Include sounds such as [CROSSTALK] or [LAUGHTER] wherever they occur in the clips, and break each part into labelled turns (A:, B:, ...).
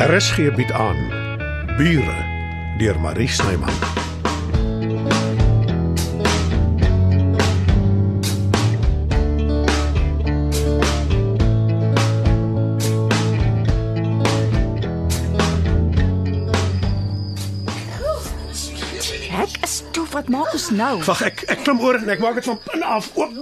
A: RSG bied aan Bure deur Marie Snyman.
B: Ek is toe, wat maak ons nou?
A: Wag, ek ek klim oor en ek maak dit van binne af oop.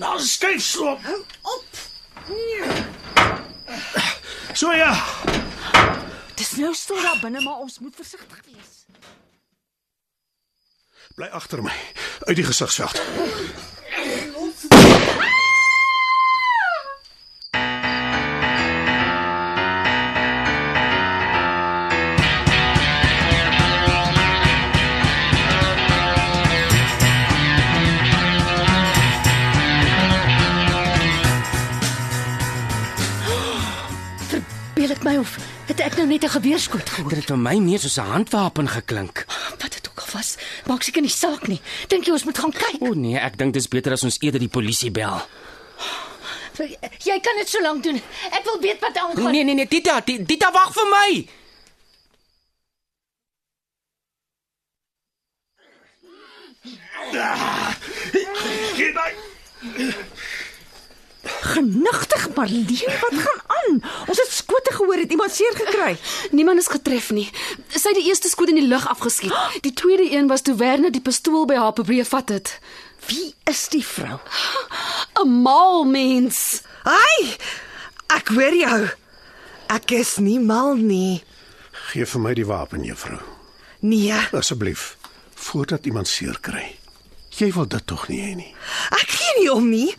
A: Daar's skuif sloop.
B: Op.
A: So ja.
B: Dis nou stil daar binne, maar ons moet versigtig wees.
A: Bly agter my uit die gesigsveld.
C: Beel ek my of het ek nou net 'n geweerskoot gehoor?
D: Dit het vir my meer soos 'n handwapen geklink.
C: Wat dit ook al was, maak seker nie saak nie. Dink jy ons moet gaan kyk?
D: O nee, ek dink dis beter as ons eerder die polisie bel.
C: Jy kan dit so lank doen. Ek wil weet wat aangaan.
D: Nee nee nee, Tita, Ti- Tita wag vir my.
A: Gee my.
B: Genigtig, Marlene, wat gaan aan? Ons het skote gehoor, het iemand seer gekry.
E: Niemand is getref nie. Sy het die eerste skoot in die lug afgeskiet. Die tweede een was toe Werner die pistool by haar probeer vat het.
B: Wie is die vrou?
E: 'n Maal mens.
F: Ai! Ek hoor jou. Ek is nie mal nie.
A: Gee vir my die wapen, juffrou.
F: Nee,
A: Asseblief, voordat iemand seer kry. Jy wil dit tog nie hê nie.
F: ek gee nie om nie.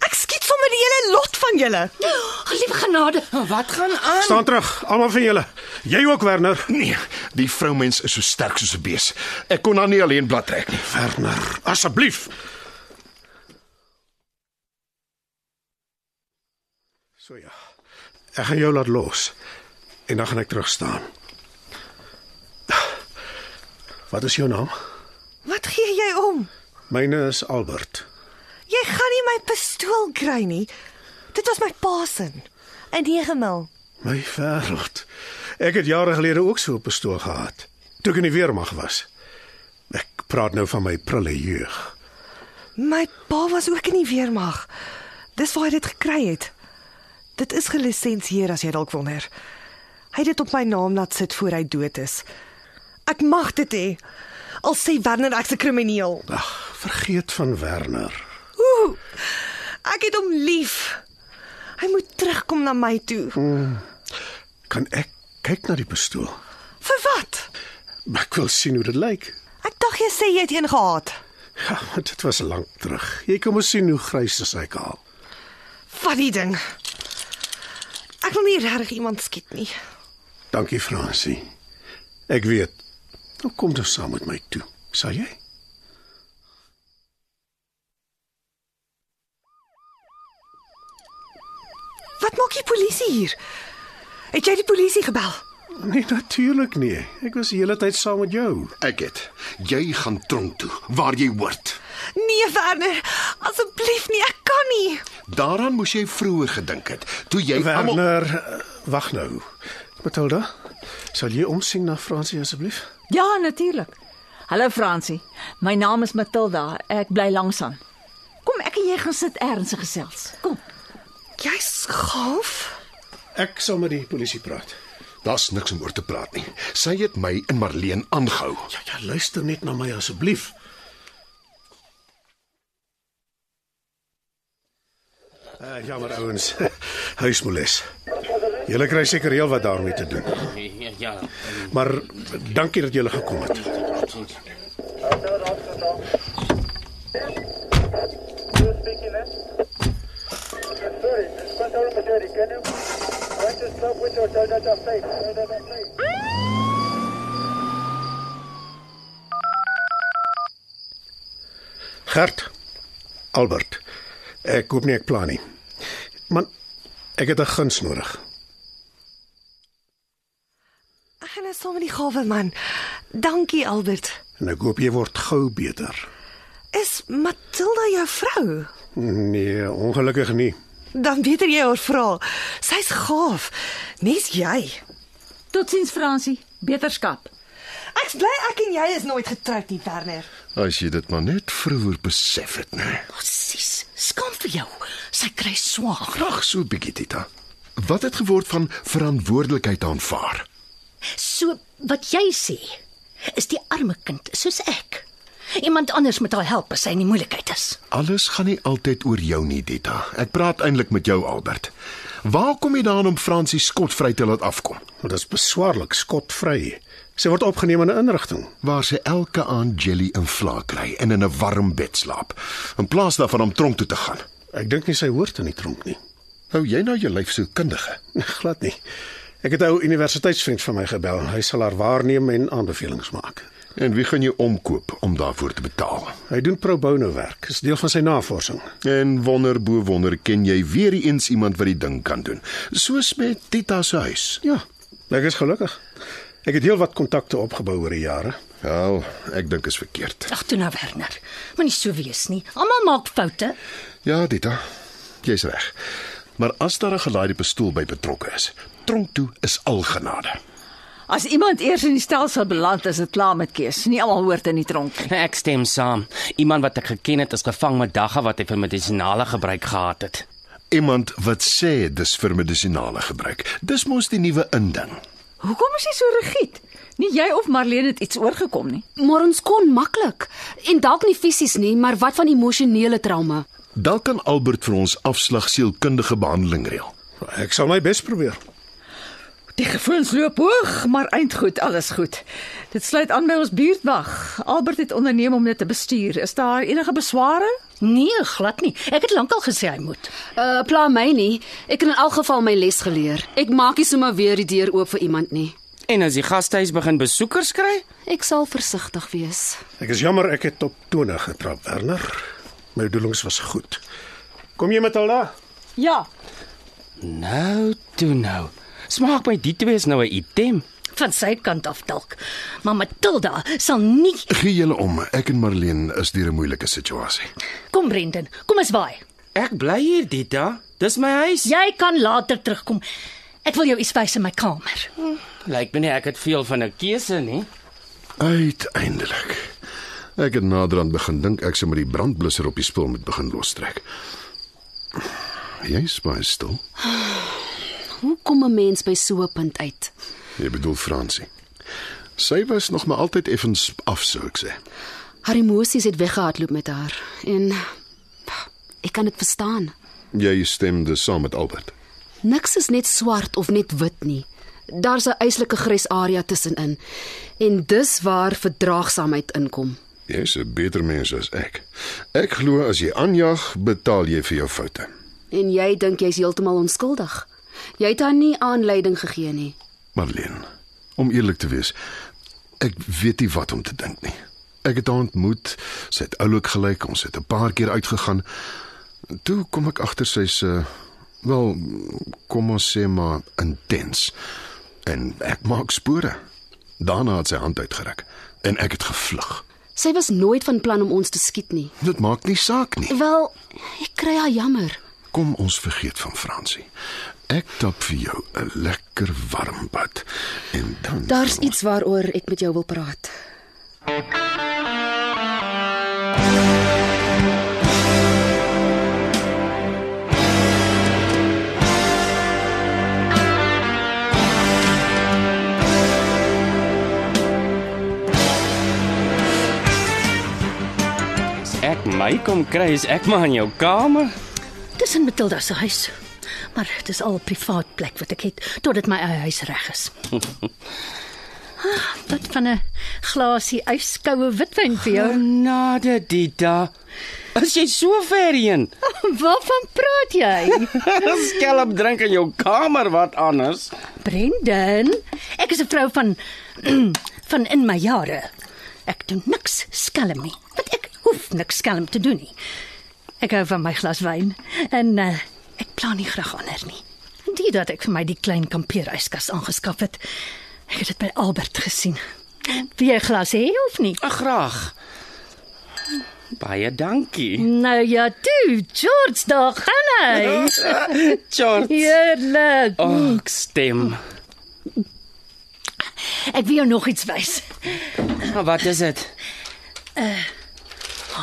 F: Ek skiet sommer die hele lot van julle.
C: Liewe genade,
D: Wat gaan aan?
A: Staan terug, almal van julle. Jy ook, Werner.
G: Nee, die vroumens is so sterk soos 'n bees. Ek kon haar nie alleen blad trek nie.
A: Werner, asseblief. So ja. Ek gaan jou laat los en dan gaan ek terug staan. Wat is jou naam?
F: Wat gee jy om?
A: Myne is Albert.
F: Jy gaan nie my pistool kry nie. Dit was my pa se. In 9 mil.
A: My wêreld. Ek het jare gelede ook so 'n pistool gehad toe ek in die weermag was. Ek praat nou van my prille jeug.
F: My pa was ook in die weermag. Dis waar hy dit gekry het. Dit is gelisensieer as jy dalk wonder. Hy het dit op my naam laat sit voor hy dood is. Ek mag dit hê. Al sê Werner ek's 'n krimineel.
A: Ag, vergeet van Werner.
F: Ooh. Ek het hom lief. Hy moet terugkom na my toe.
A: Kan ek kyk na die pistool?
F: Vir wat?
A: Ek wil sien hoe dit lyk.
F: Ek dacht jy sê jy het een gehad.
A: Ja, maar dit was lank terug. Jy kan mos sien hoe grys is hy kaal.
F: Vat die ding. Ek wil nie regtig iemand skiet nie.
A: Dankie, Fransie. Ek weet. Nou kom dan saam met my toe. Sal jy?
F: Wat maak die polisie hier? Het jy die polisie gebel?
A: Nee, natuurlik nie. Ek was die hele tyd saam met jou.
G: Ek het. Jy gaan tronk toe waar jy hoort.
F: Nee, Werner, asseblief nie, ek kan nie.
G: Daaraan moes jy vroeër gedink het toe jy almal
A: Werner, eh, wag nou. Matilda, sal jy omsien na Fransie asseblief?
B: Ja, natuurlik. Hallo Fransie. My naam is Matilda. Ek bly langs aan. Kom, ek en jy gaan sit ernstig gesels. Kom.
F: Jy's gaaf.
A: Ek sal met die polisie praat.
G: daar's niks om oor te praat nie. Sy het my en Marleen aangehou.
A: Ja, ja, luister net na my asseblief. Uh, jammer ouens. [LAUGHS] Huismoeles. Julle kry seker heel wat daarmee te doen.
D: Ja, ja.
A: Maar dankie dat julle gekom het. Gert. Albert. Ek koop nie ek plan nie. Man, ek het 'n guns nodig.
F: Ek gaan nou saam met die gawe man. Dankie Albert.
A: En ek hoop jy word gou beter.
F: Is Matilda jou vrou?
A: Nee, ongelukkig nie.
F: Dan weet jy haar vra. Sy's gaaf. Nes jy.
B: Totsiens Fransie. Beterskap.
F: Ek's bly ek en jy is nooit getroud nie, Werner.
G: As jy dit maar net vroeër besef het, nee. né?
C: Presies. Skam vir jou. Sy kry swaar.
G: Graag so 'n bietjie, Tita. Wat het geword van verantwoordelikheid aanvaar?
C: So wat jy sê, is die arme kind soos ek. Iemand anders moet haar help as sy in die moeilikheid is.
G: Alles gaan nie altyd oor jou nie, Dita. Ek praat eintlik met jou, Albert. Waar kom jy daaraan om Fransie skotvry te laat afkom?
A: Want dit is beswaarlik skotvry. Sy word opgeneem in 'n inrigting.
G: Waar sy elke aand jelly en vla kry en in 'n warm bed slaap, in plaas daarvan om tronk toe te gaan.
A: Ek dink nie sy hoort in die tronk nie.
G: Hou jy nou jou lyf sielkundige?
A: [LAUGHS] Glad nie. Ek het 'n ou universiteitsvriend van my gebel. Hy sal haar waarneem en aanbevelings maak.
G: En wie gaan jou omkoop om daarvoor te betaal?
A: Hy doen pro bono werk. Is deel van sy navorsing.
G: En wonder bo wonder ken jy weer eens iemand wat die ding kan doen, soos met Tita se huis.
A: Ja, ek is gelukkig. Ek het heelwat kontakte opgebou oor die jare.
G: Wel, ek dink is verkeerd.
C: Ag toe nou Werner. Moenie so wees nie. Almal maak foute.
G: Ja, Tita, jy's reg. Maar as daar 'n gelaaide pistool by betrokke is, tronk toe is al genade.
B: As iemand eers in die stelsel beland, is dit klaar met keus. Nie almal hoort in die tronk nie.
D: Nee, Ek stem saam. Iemand wat ek geken het is gevang met dagga wat hy vir medisinale gebruik gehad het.
G: Iemand wat sê dis vir medisinale gebruik. Dis mos die nuwe inding.
B: Hoekom is jy so rigied? Nie jy of Marlene het iets oorgekom nie.
E: Maar ons kon maklik en dalk nie fisies nie, maar wat van emosionele trauma?
G: Dan kan Albert vir ons afslag sielkundige behandeling reël.
A: Ek sal my bes probeer.
B: Die gevoelens loop hoog, maar eindgoed alles goed. Dit sluit aan by ons buurtwag. Albert het onderneem om dit te bestuur. Is daar enige besware?
C: Nee, glad nie. Ek het lankal gesê hy moet.
E: Uh pla my nie. Ek het in elk geval my les geleer. Ek maak nie sommer weer die deur oop vir iemand nie.
D: En as die gastehuis begin besoekers kry,
E: Ek sal versigtig wees.
A: Ek is jammer ek het op tone getrap, Werner. My bedoelings was goed. Kom jy met Alda?
B: Ja,
D: nou toe nou. Smaak my die twee is nou 'n item.
C: Van sy kant af dalk. Maar Matilda sal nie
G: Gee julle om, ek en Marlene is deur 'n moeilike situasie.
C: Kom Brendan, kom ons waai.
D: Ek bly hier, Dita. Dis my huis.
C: Jy kan later terugkom. Ek wil jou iets wys in my kamer.
D: Lyk my nie ek het veel van 'n keuse nie.
G: Uiteindelik. Ek het naderhand begin dink ek sou met die brandblusser op die spul moet begin lostrek. Jy's baie stil.
E: Hoe kom 'n mens by so 'n punt uit?
G: Jy bedoel Fransie. Sy was nog maar altyd effens af sou ek sê.
E: Haar emosies het weggehardloop met haar en ek kan dit verstaan.
G: Jy stemde saam met Albert.
E: Niks is net swart of net wit nie. Daar's 'n yslike grys area tussenin. En dis waar verdraagsaamheid inkom.
G: Jy's 'n beter mens as ek. Ek glo as jy aanjag, betaal jy vir jou foute.
E: En jy dink jy's heeltemal onskuldig. Jy het haar nie aanleiding gegee nie.
G: Marlene, om eerlik te wees, ek weet nie wat om te dink nie. Ek het haar ontmoet, sy het oulik gelyk, ons het 'n paar keer uitgegaan. Toe kom ek agter sy's uh wel, kom ons sê maar intens. En ek maak spore. Daarna het sy hand uitgeruk en ek het gevlug.
E: Sy was nooit van plan om ons te skiet nie.
G: Dit maak nie saak nie.
E: Wel, ek kry haar jammer.
G: Kom ons vergeet van Fransie. Ek tap vir jou 'n lekker warm bad en dan
E: Daar's iets waaroor ek met jou wil praat.
D: As ek my kom kry, is ek maar in jou kamer.
C: Dis in Matilda se huis. Maar dit is al 'n privaat plek wat ek het totdat my eie huis reg is. Ah, Wat van 'n glasie yskoue witwyn vir
D: Ja.
C: jou? [LAUGHS]
D: Genade, Dita. As jy so ver heen, [LAUGHS]
C: Waarvan praat jy?
D: skelp drink in jou kamer wat anders.
C: Brendan, ek is 'n vrou van [CLEARS THROAT] van in my jare. Ek doen niks skelm nie, want ek hoef niks skelm te doen nie. Ek hou van my glas wyn en uh, ek plan nie graag ander nie. Indien dat ek vir my die klein kampeeryskas aangeskaf het. Ek het dit by Albert gesien. Wie 'n glas hê of nie?
D: Ag, graag. Baie dankie.
C: Nou ja, toe, George, daar gaan hy.
D: Nee. [LAUGHS] George.
C: Heerlik.
D: Oh, ek stem.
C: Ek wil jou nog iets wys.
D: Maar wat is dit?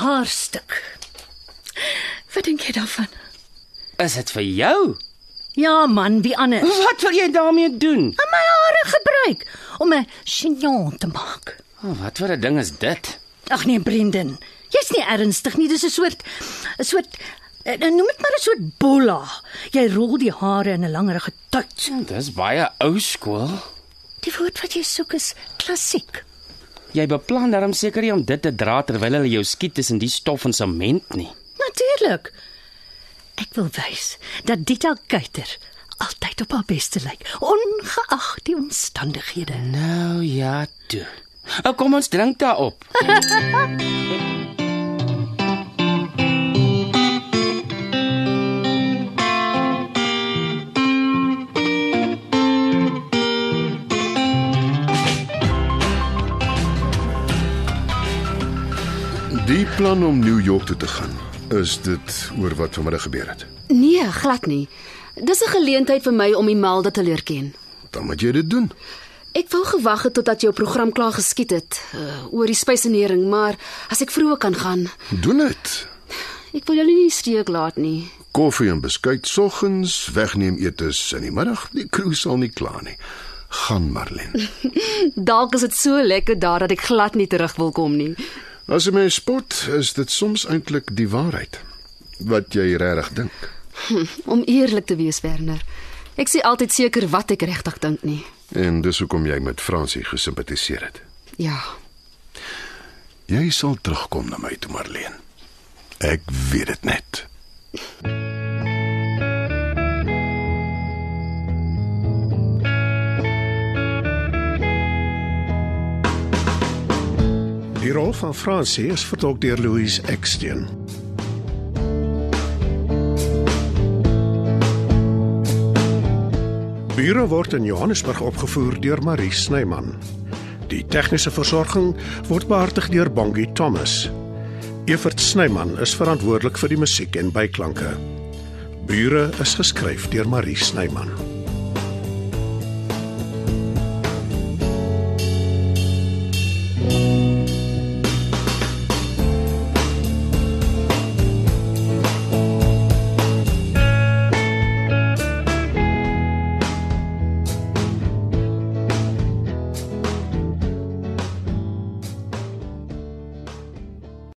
C: Haarstuk. Wat dink jy daarvan?
D: Is dit vir jou?
C: Ja man, wie anders?
D: Wat wil jy daarmee doen?
C: Om my hare gebruik om 'n chignon te maak.
D: Oh, wat vir 'n ding is dit?
C: Ag nee, Brendan. Jy's nie ernstig nie. Dis 'n soort 'n soort eh, noem dit maar 'n soort bolla. Jy rol die hare in 'n langerige tuit.
D: Dis Ja, baie ou skool.
C: Die woord wat jy soek is klassiek.
D: Jy beplan daarom seker nie om dit te dra terwyl hulle jou skiet tussen die stof en sement nie.
C: Natuurlik. Ek wil wys dat Dita Kuyter altyd op haar beste lyk, ongeag die omstandighede.
D: Nou ja, toe. Oh, kom ons drink daarop.
G: Die plan om New York toe te gaan, is dit oor wat vanmiddag gebeur het.
E: Nee, glad nie. Dis 'n geleentheid vir my om Imelda te leer ken.
G: Dan moet jy dit doen.
E: Ek wou gewag het totdat jou program klaar geskiet het uh, oor die spysenering, maar as ek vroeg kan gaan,
G: Doen dit.
E: ek wil julle nie in die steek laat nie.
G: Koffie en beskuit soggens, wegneem etes in die middag. Die cruise sal nie klaar nie. Gaan Marlene.
E: Dalk is dit so lekker daar dat ek glad nie terug wil kom nie.
G: As jy my spot, is dit soms eintlik die waarheid wat jy regtig dink.
E: Om eerlik te wees, Werner, ek sê altyd seker wat ek regtig dink nie.
G: En dis hoekom jy met Fransie gesimpatiseer het.
E: Ja,
G: Jy sal terugkom na my toe, Marlene. Ek weet dit net.
A: Die rol van Francie is vertolk deur Louise Eksteen. Bure word in Johannesburg opgevoer deur Marie Snyman. Die tegniese versorging word behartig deur Bongie Thomas. Evert Snyman is verantwoordelik vir die musiek en byklanke. Bure is geskryf deur Marie Snyman.